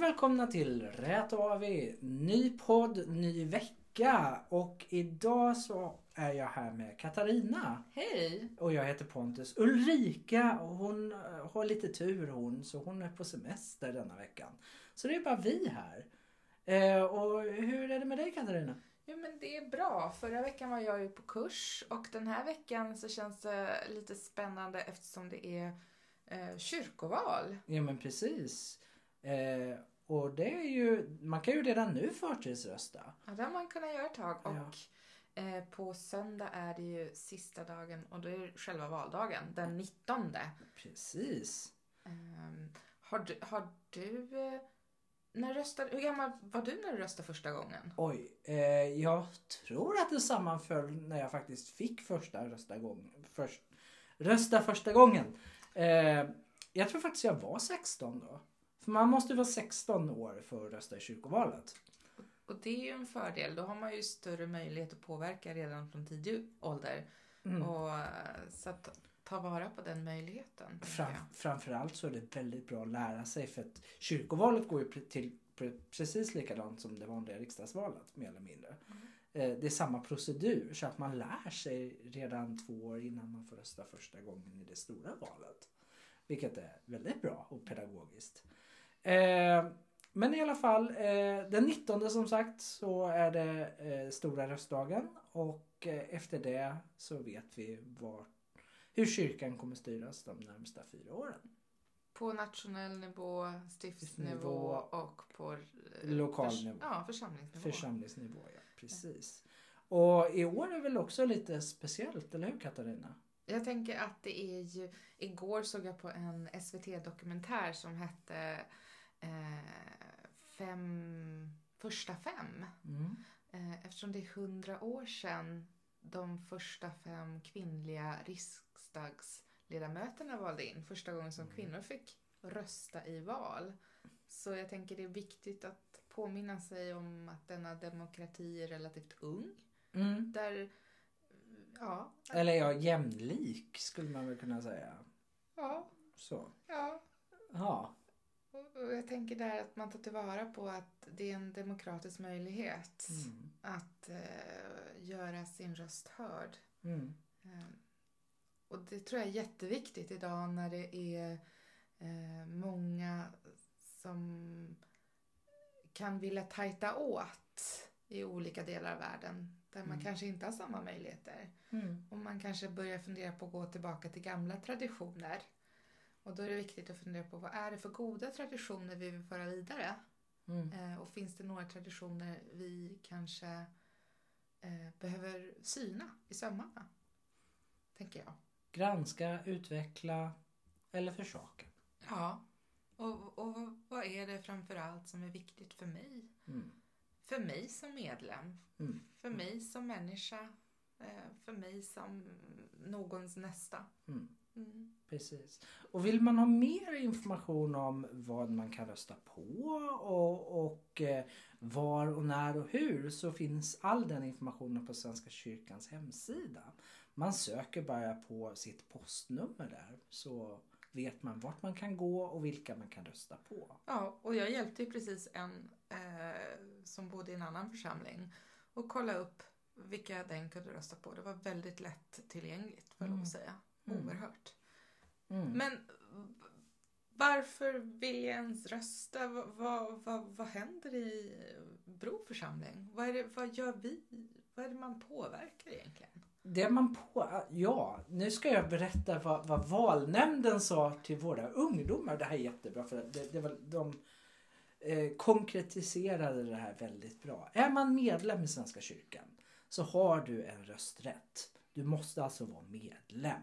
välkomna till Rät AV. Ny podd, ny vecka. Och idag så är jag här med Katarina. Hej! Och jag heter Pontus. Ulrika, hon eh, har lite tur hon, så hon är på semester denna veckan. Så det är bara vi här. Eh, och hur är det med dig Katarina? Jo men det är bra. Förra veckan var jag ju på kurs och den här veckan så känns det lite spännande eftersom det är eh, kyrkoval. Ja men precis. Eh, och det är ju, man kan ju redan nu förtidsrösta. Ja, det har man kunnat göra ett tag Ja. och eh, på söndag är det ju sista dagen och då är det själva valdagen, den 19. Precis. Ehm, har du, har du eh, när röstade, hur gammal var du när du röstade första gången? Oj, eh, jag tror att det sammanföll när jag faktiskt fick första rösta gång, först, rösta första gången. Eh, jag tror faktiskt jag var 16 då. För man måste ju vara 16 år för att rösta i kyrkovalet. Och det är ju en fördel, då har man ju större möjlighet att påverka redan från tidig ålder. Mm. Och, eh, så att ta vara på den möjligheten. tänker Fram, jag. framförallt så är det väldigt bra att lära sig för att kyrkovalet går ju pre- till pre- precis likadant som det vanliga riksdagsvalet mer eller mindre. Eh, Det är samma procedur så att man lär sig redan två år innan man får rösta första gången i det stora valet. Vilket är väldigt bra och pedagogiskt. Eh, Men i alla fall, eh, den 19 som sagt så är det eh, stora röstdagen och eh, efter det så vet vi vart hur kyrkan kommer styras de närmsta fyra åren. På nationell nivå, stiftsnivå Nivå. och på eh, Lokal förs- nivå. Ja, församlingsnivå. Församlingsnivå, ja. Precis. Och i år är väl också lite speciellt, eller hur Katarina? Jag tänker att det är ju, igår såg jag på en SVT-dokumentär som hette eh, Fem, första fem. Mm. Eh, eftersom det är hundra år sedan de första fem kvinnliga riksdagsledamöterna valde in. Första gången som kvinnor fick rösta i val. Så jag tänker det är viktigt att påminna sig om att denna demokrati är relativt ung. Mm. Där, ja, Eller ja, jämlik skulle man väl kunna säga. ja, Så. ja. Ja, Och och jag tänker där att man tar tillvara på att det är en demokratisk möjlighet mm. att eh, göra sin röst hörd. Mm. Eh, Och det tror jag är jätteviktigt idag när det är eh, många som kan vilja tajta åt i olika delar av världen där man Mm. kanske inte har samma möjligheter. Mm. Och man kanske börjar fundera på att gå tillbaka till gamla traditioner. Och då är det viktigt att fundera på vad är det för goda traditioner vi vill föra vidare? Mm. Eh, och finns det några traditioner vi kanske eh, behöver syna i sömmarna? Tänker jag. Granska, utveckla eller försaka. Ja. Och, och vad- vad är det framför allt som är viktigt för mig? Mm. För mig som medlem? Mm. För mig som människa? Eh, för mig som någons nästa? Mm. Mm. Precis. Och vill man ha mer information om vad man kan rösta på och, och eh, var och när och hur så finns all den informationen på Svenska kyrkans hemsida. Man söker bara på sitt postnummer där så vet man vart man kan gå och vilka man kan rösta på. Ja, och jag hjälpte ju precis en eh, som bodde i en annan församling och kolla upp vilka den kunde rösta på. Det var väldigt lätt tillgängligt, får jag lov att säga. Mm. Oerhört. Mm. Men v- varför vill jag ens rösta? Vad, vad, vad, vad händer i Bro församling? Vad, är det, vad gör vi? Vad är det man påverkar egentligen? Det man på... Ja, nu ska jag berätta vad, vad valnämnden sa till våra ungdomar. Det här är jättebra för att det, det var, de eh, konkretiserade det här väldigt bra. Är man medlem i Svenska kyrkan så har du en rösträtt. Du måste alltså vara medlem.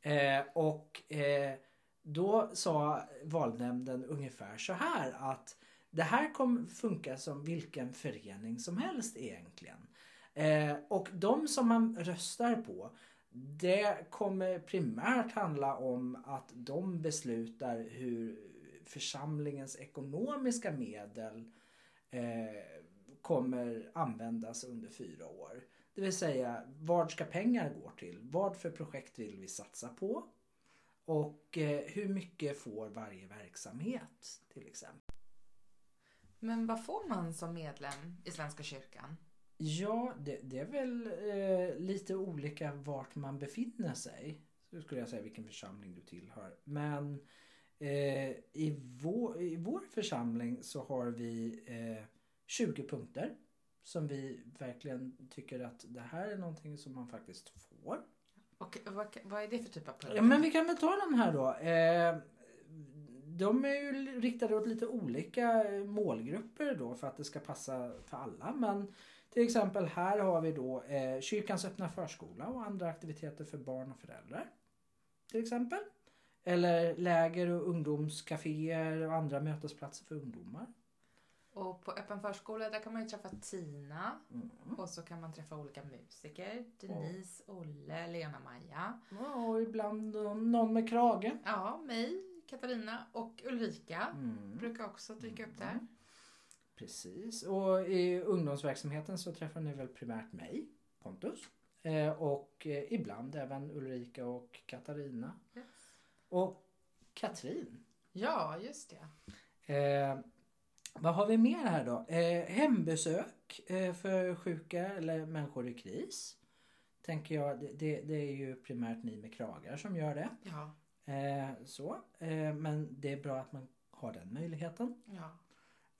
Eh, och eh, då sa valnämnden ungefär så här att det här kommer funka som vilken förening som helst egentligen. Eh, och de som man röstar på det kommer primärt handla om att de beslutar hur församlingens ekonomiska medel eh, kommer användas under fyra år. Det vill säga, vad ska pengar gå till? Vad för projekt vill vi satsa på? Och eh, hur mycket får varje verksamhet till exempel? Men vad får man som medlem i Svenska kyrkan? Ja, det, det är väl eh, lite olika vart man befinner sig. Så skulle jag säga vilken församling du tillhör. Men eh, i, vår, i vår församling så har vi eh, 20 punkter. Som vi verkligen tycker att det här är någonting som man faktiskt får. Och vad, vad är det för typ av punkter? Ja, men vi kan väl ta den här då. Eh, de är ju riktade åt lite olika eh, målgrupper då för att det ska passa för alla. Men till exempel här har vi då eh, kyrkans öppna förskola och andra aktiviteter för barn och föräldrar. Till exempel. Eller läger och ungdomscaféer och andra mötesplatser för ungdomar. Och på öppen förskola där kan man ju träffa Tina Mm. och så kan man träffa olika musiker. Denise, Olle, Lena-Maja. Ja, Och ibland eh, någon med krage. Ja, mig, Katarina och Ulrika Mm. brukar också dyka upp där. Precis. Och i ungdomsverksamheten så träffar ni väl primärt mig, Pontus. Eh, och eh, ibland även Ulrika och Katarina. Och Katrin. Ja, just det. Eh, vad har vi mer här då? Eh, hembesök eh, för sjuka eller människor i kris. Tänker jag, det, det, det är ju primärt ni med kragar som gör det. Ja, Eh, så. Eh, men det är bra att man har den möjligheten. ja.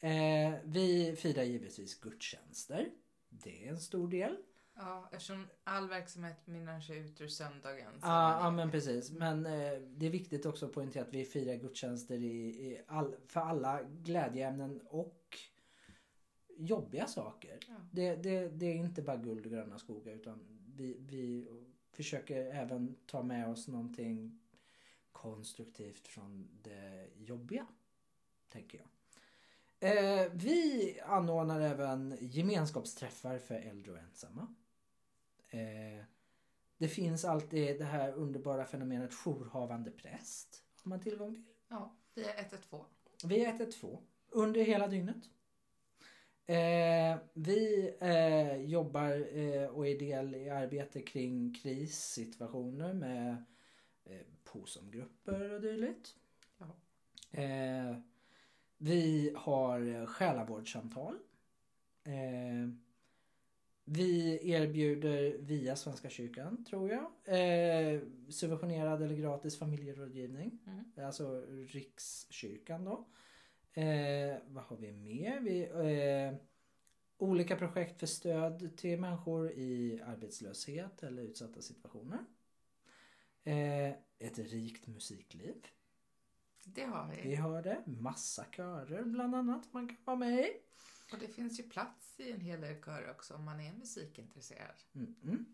Eh, vi firar givetvis gudstjänster. Det är en stor del. ja eftersom all verksamhet mynnar sig ut ur söndagen. så- Ja, ja, men precis. Men eh, det är viktigt också att poängtera att vi firar gudstjänster i, i all, för alla glädjeämnen och jobbiga saker. Ja. Det, det, det är inte bara guld och gröna skogar utan vi, vi försöker även ta med oss någonting konstruktivt från det jobbiga. Tänker jag. Eh, vi anordnar även gemenskapsträffar för äldre och ensamma. Eh, det finns alltid det här underbara fenomenet jourhavande präst. Har man tillgång till. Ja, via 112. Vi är 112 under hela dygnet. Eh, vi eh, jobbar eh, och är del i arbete kring krissituationer med eh, POSOM-grupper och dylikt. Ja. Eh, vi har eh, själavårdssamtal. Eh, vi erbjuder via Svenska kyrkan, tror jag, eh, subventionerad eller gratis familjerådgivning. Alltså Rikskyrkan då. Eh, vad har vi mer? Vi, eh, olika projekt för stöd till människor i arbetslöshet eller utsatta situationer. Eh, ett rikt musikliv. Det har vi. Vi har det. Massa körer bland annat man kan vara med i. Och det finns ju plats i en hel del körer också om man är musikintresserad. Mm, mm.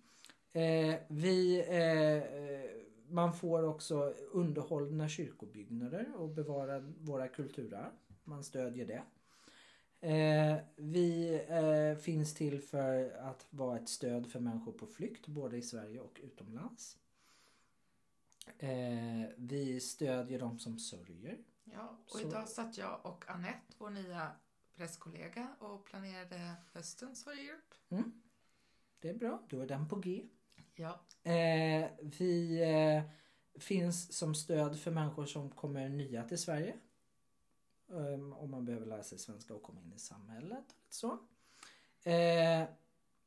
Eh, vi, eh, eh, man får också underhållna kyrkobyggnader och bevara våra kulturarv. Man stödjer det. Eh, vi eh, finns till för att vara ett stöd för människor på flykt både i Sverige och utomlands. Eh, vi stödjer de som sörjer. Ja, och Så- idag satt jag och Annette, vår nya presskollega, och planerade höstens Sverige Europe. Det är bra, då är den på G. Ja. Eh, vi eh, finns som stöd för människor som kommer nya till Sverige. Ehm, om man behöver lära sig svenska och komma in i samhället. Och så. Eh,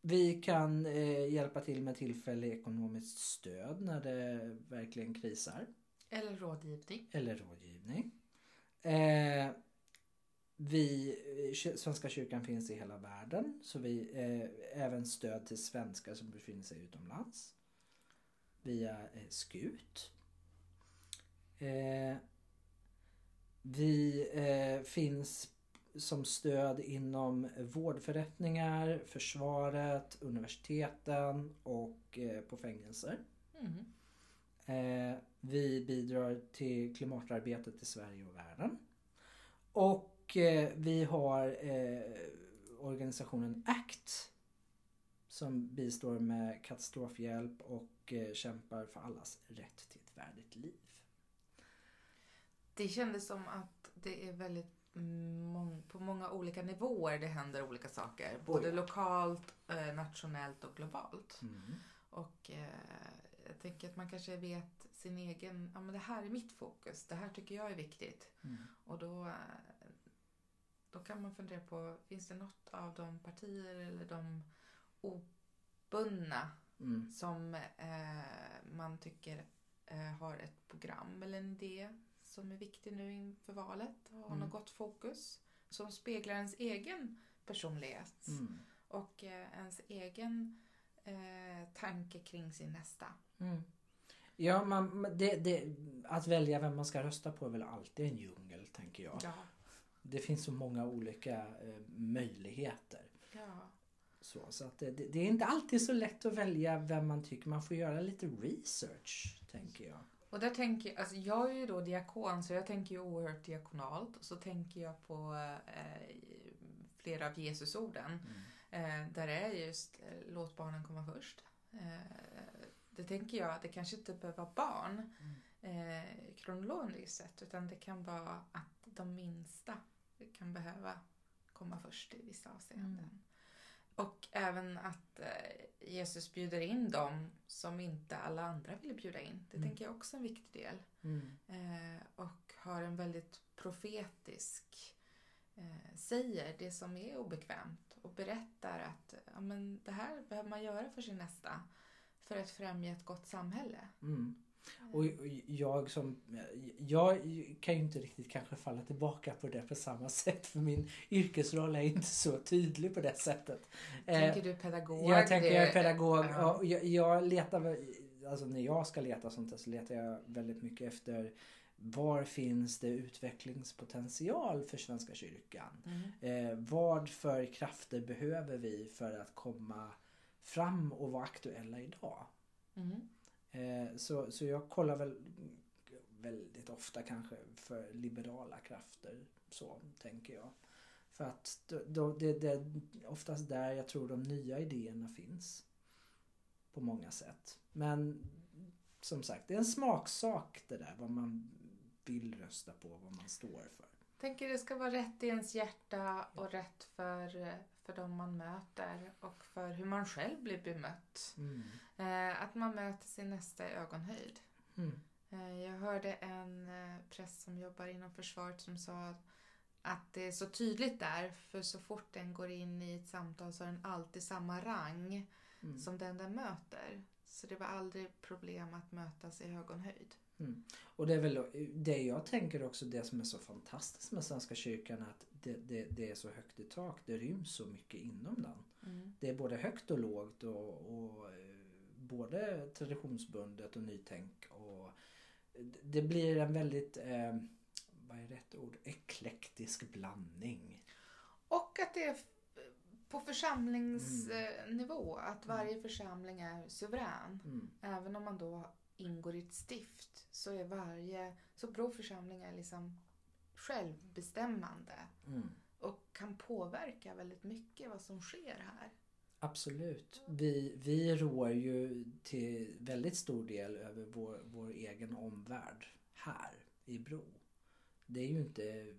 vi kan eh, hjälpa till med tillfällig ekonomiskt stöd när det verkligen krisar. Eller rådgivning. Eller rådgivning. Eh, vi, eh, ky- Svenska kyrkan finns i hela världen. Så vi eh, även stöd till svenskar som befinner sig utomlands. Via eh, SKUT. Eh, vi eh, finns som stöd inom vårdförrättningar, försvaret, universiteten och eh, på fängelser. Mm. Eh, vi bidrar till klimatarbetet i Sverige och världen. Och eh, vi har eh, organisationen ACT som bistår med katastrofhjälp och eh, kämpar för allas rätt till ett värdigt liv. Det kändes som att det är väldigt mång- på många olika nivåer det händer olika saker. Både Oj. lokalt, eh, nationellt och globalt. Och eh, jag tänker att man kanske vet sin egen, ja men det här är mitt fokus, det här tycker jag är viktigt. Mm. Och då, eh, då kan man fundera på, finns det något av de partier eller de obundna Mm. som eh, man tycker eh, har ett program eller en idé som är viktig nu inför valet och har Mm. något gott fokus som speglar ens egen personlighet Mm. och eh, ens egen eh, tanke kring sin nästa. Mm. Ja, man, men det, det, att välja vem man ska rösta på är väl alltid en djungel, tänker jag. Ja. Det finns så många olika eh, möjligheter. ja. Så, så att det, det det är inte alltid så lätt att välja vem man tycker. Man får göra lite research, tänker jag. Och där tänker jag, alltså jag är ju då diakon så jag tänker ju oerhört diakonalt och så tänker jag på eh, flera av Jesusorden. Mm. Eh, där är just eh, låt barnen komma först. Eh, det tänker jag, det kanske inte behöver vara barn eh, kronologiskt sett utan det kan vara att de minsta kan behöva komma först i vissa avseenden. Och även att eh, Jesus bjuder in dem som inte alla andra vill bjuda in. Det Mm. tänker jag också är en viktig del. Mm. Eh, och har en väldigt profetisk, eh, säger det som är obekvämt och berättar att ja, men det här behöver man göra för sin nästa för att främja ett gott samhälle. Mm. Och och jag som... Jag kan ju inte riktigt kanske falla tillbaka på det på samma sätt för min yrkesroll är inte så tydlig på det sättet. Eh, tänker du pedagog? Jag tänker jag Det- är pedagog Ja. och jag, jag letar väl- alltså när jag ska leta sånt där så letar jag väldigt mycket efter var finns det utvecklingspotential för Svenska kyrkan? Mm. Eh, vad för krafter behöver vi för att komma fram och vara aktuella idag? Mm. Eh, så, så jag kollar väl väldigt ofta kanske för liberala krafter. Så tänker jag. För att då, då, det, det är oftast där jag tror de nya idéerna finns. På många sätt. Men som sagt, det är en smaksak det där. Vad man vill rösta på, vad man står för. Tänker det ska vara rätt i ens hjärta och rätt för, för de man möter och för hur man själv blir bemött. Eh, att man möter sin nästa i ögonhöjd. Mm. Eh, Jag hörde en eh, präst som jobbar inom försvaret som sa att det är så tydligt där för så fort den går in i ett samtal så har den alltid samma rang Mm. som den den möter. Så det var aldrig problem att mötas i ögonhöjd. Och det är väl det jag tänker också det som är så fantastiskt med Svenska kyrkan att det, det, det är så högt i tak. Det ryms så mycket inom den. Mm. det är både högt och lågt och, och eh, både traditionsbundet och nytänk. Och det blir en väldigt, eh, vad är rätt ord, eklektisk blandning. Och att det är f- på församlingsnivå, att varje församling är suverän. Mm. Även om man då ingår i ett stift så är varje, så Bro församling är liksom självbestämmande. Mm. och kan påverka väldigt mycket vad som sker här. Absolut. Vi, vi rår ju till väldigt stor del över vår, vår egen omvärld här i Bro. Det är ju inte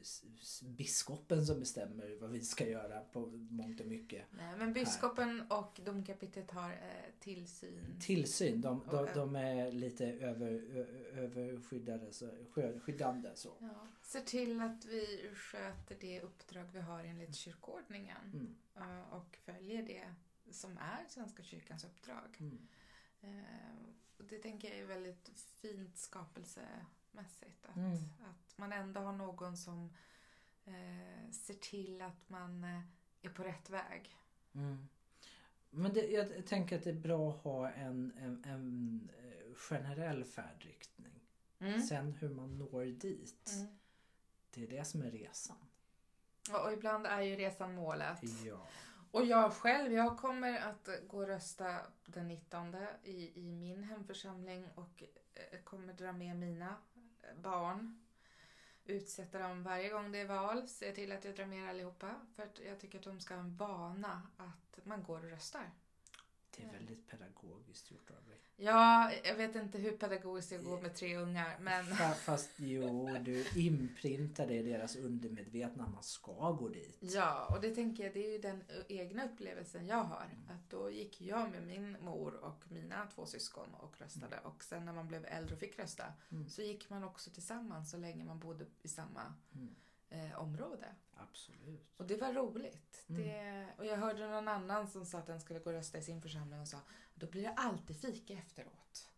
s- s- biskopen som bestämmer vad vi ska göra på mångt och mycket. Nej, men biskopen och domkapitlet har eh, tillsyn. tillsyn. De, de, Och, eh, de är lite över, ö- överskyddade, så, skö- skyddande så. Ja, ser till att vi sköter det uppdrag vi har enligt kyrkoordningen Mm. eh, och följer det som är Svenska kyrkans uppdrag. Mm. Eh, och det tänker jag är väldigt fint skapelsemässigt. Att, Mm. att man ändå har någon som eh, ser till att man eh, är på rätt väg. Mm. Men det, jag tänker att det är bra att ha en, en, en eh, generell färdriktning. Mm. Sen hur man når dit, Mm. det är det som är resan. Ja, Och ibland är ju resan målet. Ja. Och jag själv, jag kommer att gå och rösta den 19 i, i min hemförsamling och eh, kommer dra med mina eh, barn. Utsätta dem varje gång det är val. Se till att jag drar med er allihopa. För att jag tycker att de ska ha en vana att man går och röstar. Det är väldigt pedagogiskt gjort av dig. Ja, jag vet inte hur pedagogiskt jag går med tre ungar, men Fa- Fast jo, du inprintar det i deras undermedvetna. Man ska gå dit. Ja, och det tänker jag, det är ju den egna upplevelsen jag har. Mm. Att då gick jag med min mor och mina två syskon och röstade. Och sen när man blev äldre och fick rösta Mm. så gick man också tillsammans så länge man bodde i samma Mm. eh, eh, område. Absolut. Och det var roligt. Mm. Det, och jag hörde någon annan som sa att den skulle gå och rösta i sin församling och sa då blir det alltid fika efteråt.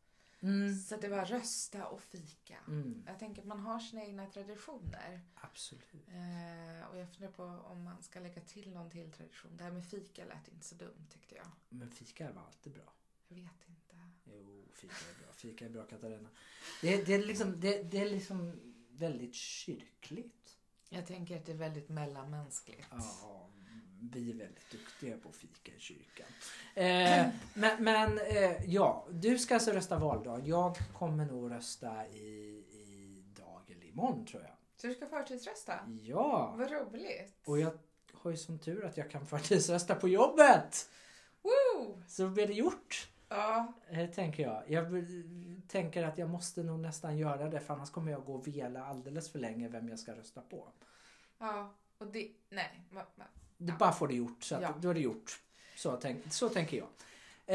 Mm. Så det var rösta och fika. Mm. Jag tänker att man har sina egna traditioner. Absolut. Eh, och jag funderar på om man ska lägga till någon till tradition. Det här med fika lät inte så dumt tyckte jag. Men fika var alltid bra. Jag vet inte. Jo, fika är bra. Fika är bra Katarina. Det, det, är, liksom, det, det är liksom väldigt kyrkligt. Jag tänker att det är väldigt mellanmänskligt. Ja, vi är väldigt duktiga på fika i kyrkan. Eh, men men eh, ja, du ska alltså rösta valdag. Jag kommer nog rösta i, i dag eller imorgon tror jag. Så du ska förtidsrösta? Ja, Vad roligt! och jag har ju som tur att jag kan förtidsrösta på jobbet. Woo! Så blir det gjort. Ja, Eh, tänker jag. Jag vill- tänker att jag måste nog nästan göra det för annars kommer jag gå och vela alldeles för länge vem jag ska rösta på. ja. Och det... Nej. ma- ma- Det Ja. Bara får det gjort, så att Ja. då är det gjort. Så, tänk, så tänker jag.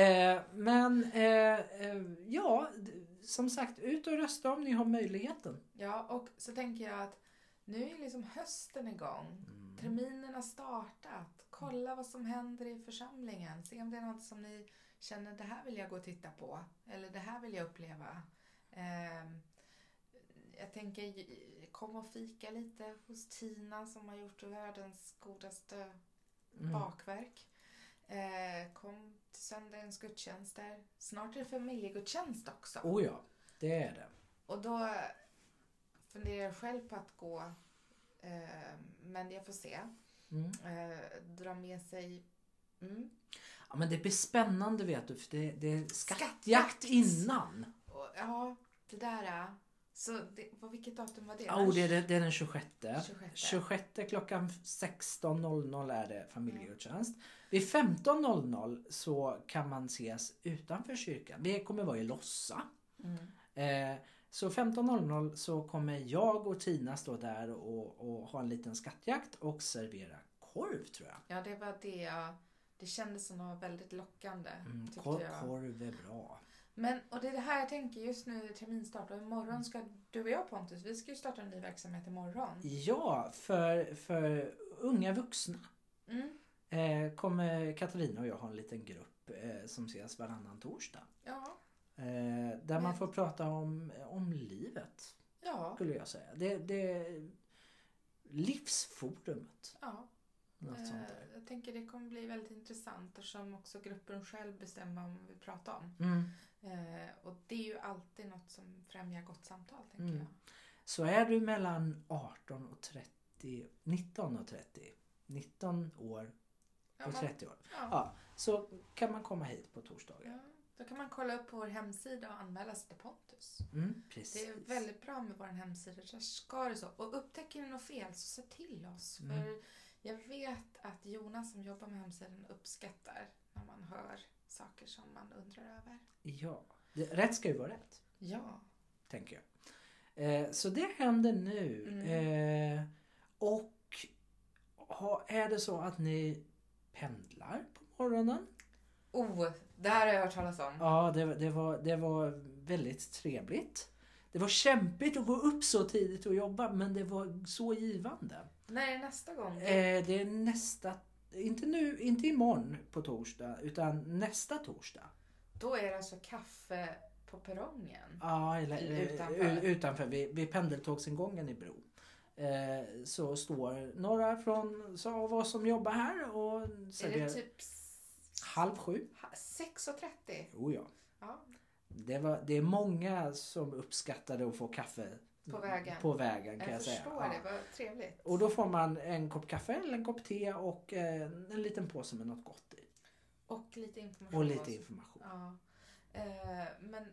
Eh, men eh, eh, ja, d- som sagt, ut och rösta om ni har möjligheten. Ja, och så tänker jag att nu är liksom hösten igång. Mm. Terminen har startat. Kolla vad som händer i församlingen. Se om det är något som ni känner, det här vill jag gå och titta på. Eller det här vill jag uppleva. Ehm, jag tänker, j- kom och fika lite hos Tina som har gjort världens godaste Mm. bakverk. Eh, kom till söndagens gudstjänst där. Snart är det familjegudstjänst också. Oh ja, det är det. Och då funderar jag själv på att gå, eh, men jag får se. Mm. Eh, dra med sig... Mm. Ja, men det blir spännande vet du, för det, det är Skattjakt. skattjakt innan. Och, ja, det där. eh. Så det, vad- vilket datum var det? Ja, och det, är, det- det är den 26. 26. 26 klockan 16.00 är det familjegudstjänst. Vid 15.00 så kan man ses utanför kyrkan. Det kommer vara i Lossa. Mm. Eh, så 15.00 så kommer jag och Tina stå där och, och ha en liten skattjakt och servera korv tror jag. Ja, det var det jag... Det kändes som det var väldigt lockande. Mm, tyckte kor- jag. korv är bra. Men, och det är det här jag tänker just nu är terminstart och imorgon ska du och jag Pontus, vi ska ju starta en ny verksamhet imorgon. Ja, för, för unga vuxna Mm. eh, kommer Katarina och jag ha en liten grupp eh, som ses varannan torsdag. Ja, Eh, där man Men- får prata om, om livet, ja, skulle jag säga. Det, det livsforumet. ja. Något Eh, sånt där. Jag tänker det kommer bli väldigt intressant eftersom också gruppen själv bestämmer om vad vi pratar om. Mm. Eh, och det är ju alltid något som främjar gott samtal, tänker Mm. jag. Så är du mellan 18 och 30, 19 och 30, 19 år Ja, och man, 30 år. ja. Ja, så kan man komma hit på torsdagar. Ja. Då kan man kolla upp på vår hemsida och anmäla sig till Pontus. Mm, Det precis. är väldigt bra med vår hemsida. Där ska det så. Och upptäcker ni något fel så se till oss. Mm. För jag vet att Jonas som jobbar med hemsidan uppskattar när man hör saker som man undrar över. Ja, det, rätt ska ju vara rätt. Ja. tänker jag. Eh, så det händer nu. Mm. Eh, och ha, är det så att ni pendlar på Mm. morgonen? Oh, det här har jag hört talas om. Ja, det, det, var, det var väldigt trevligt. Det var kämpigt att gå upp så tidigt och jobba men det var så givande. När är nästa gång? Eh, det är nästa, inte nu, inte imorgon på torsdag utan nästa torsdag. Då är det alltså kaffe på perrongen. Ja, eller Utanför. utanför, utanför vid, vid pendeltågsingången i Bro. Eh, så står några från så av oss som jobbar här och är det serverar typ s- halv sju. ha- 6.30? Jo, ja. Ja. Det, var, det är många som uppskattade att få kaffe På vägen. På vägen Jag, kan jag, säga. förstår Ja. det, vad trevligt. Och då får man en kopp kaffe eller en kopp te och eh, en liten påse med något gott i. Och lite information. Och lite också. information. Ja. Eh, men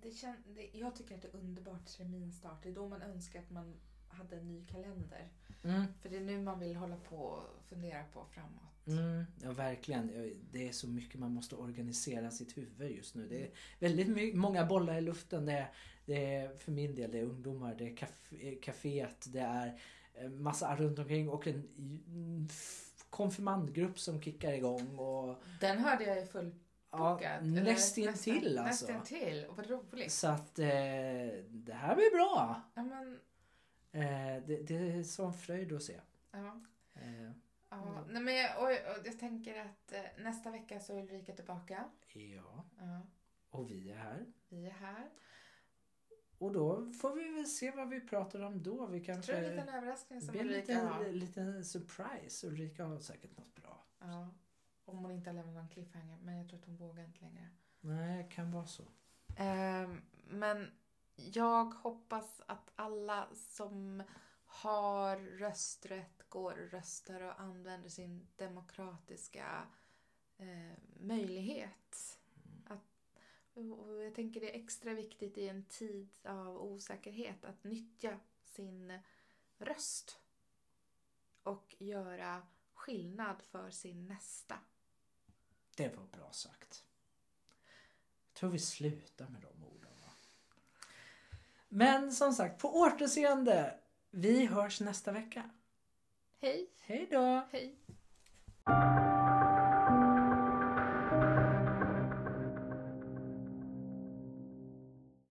det kän- det, jag tycker att det är underbart terminstart. Det är då man önskar att man hade en ny kalender. Mm. För det är nu man vill hålla på och fundera på framåt. Mm, ja, verkligen. Eh, Det är så mycket man måste organisera sitt huvud just nu. Det är väldigt my- många bollar i luften. Det är, det är för min del det är ungdomar, det är kaf- eh, kaféet, det är eh, massa runt omkring och en i- mm, f- konfirmandgrupp som kickar igång. Och, Den hörde jag är fullbokad. ja, eller nästintill nästan- alltså. Nästintill, vad roligt. Så att eh, det här blir bra. Ja, men, Eh, det, det är sån fröjd att se. Ja. Eh, ja. Nej, men jag, och, och jag tänker att eh, nästa vecka så är Ulrika tillbaka. ja, Ja. och vi är här. Vi är här. Och då får vi väl se vad vi pratar om då. Vi Jag tror det är en kanske... liten överraskning Det som blir en Ulrika har. liten, liten surprise. Ulrika har säkert något bra. Ja. Om hon inte har lämnat någon cliffhanger. Men jag tror att hon vågar inte längre. Nej, det kan vara så. Ehm, men jag hoppas att alla som har rösträtt går och röstar och använder sin demokratiska eh, möjlighet. Att, och jag tänker det är extra viktigt i en tid av osäkerhet att nyttja sin röst och göra skillnad för sin nästa. Det var bra sagt. Jag tror vi slutar med de orden. Va? Men som sagt, på återseende. Vi hörs nästa vecka. Hej! Hej då! Hej!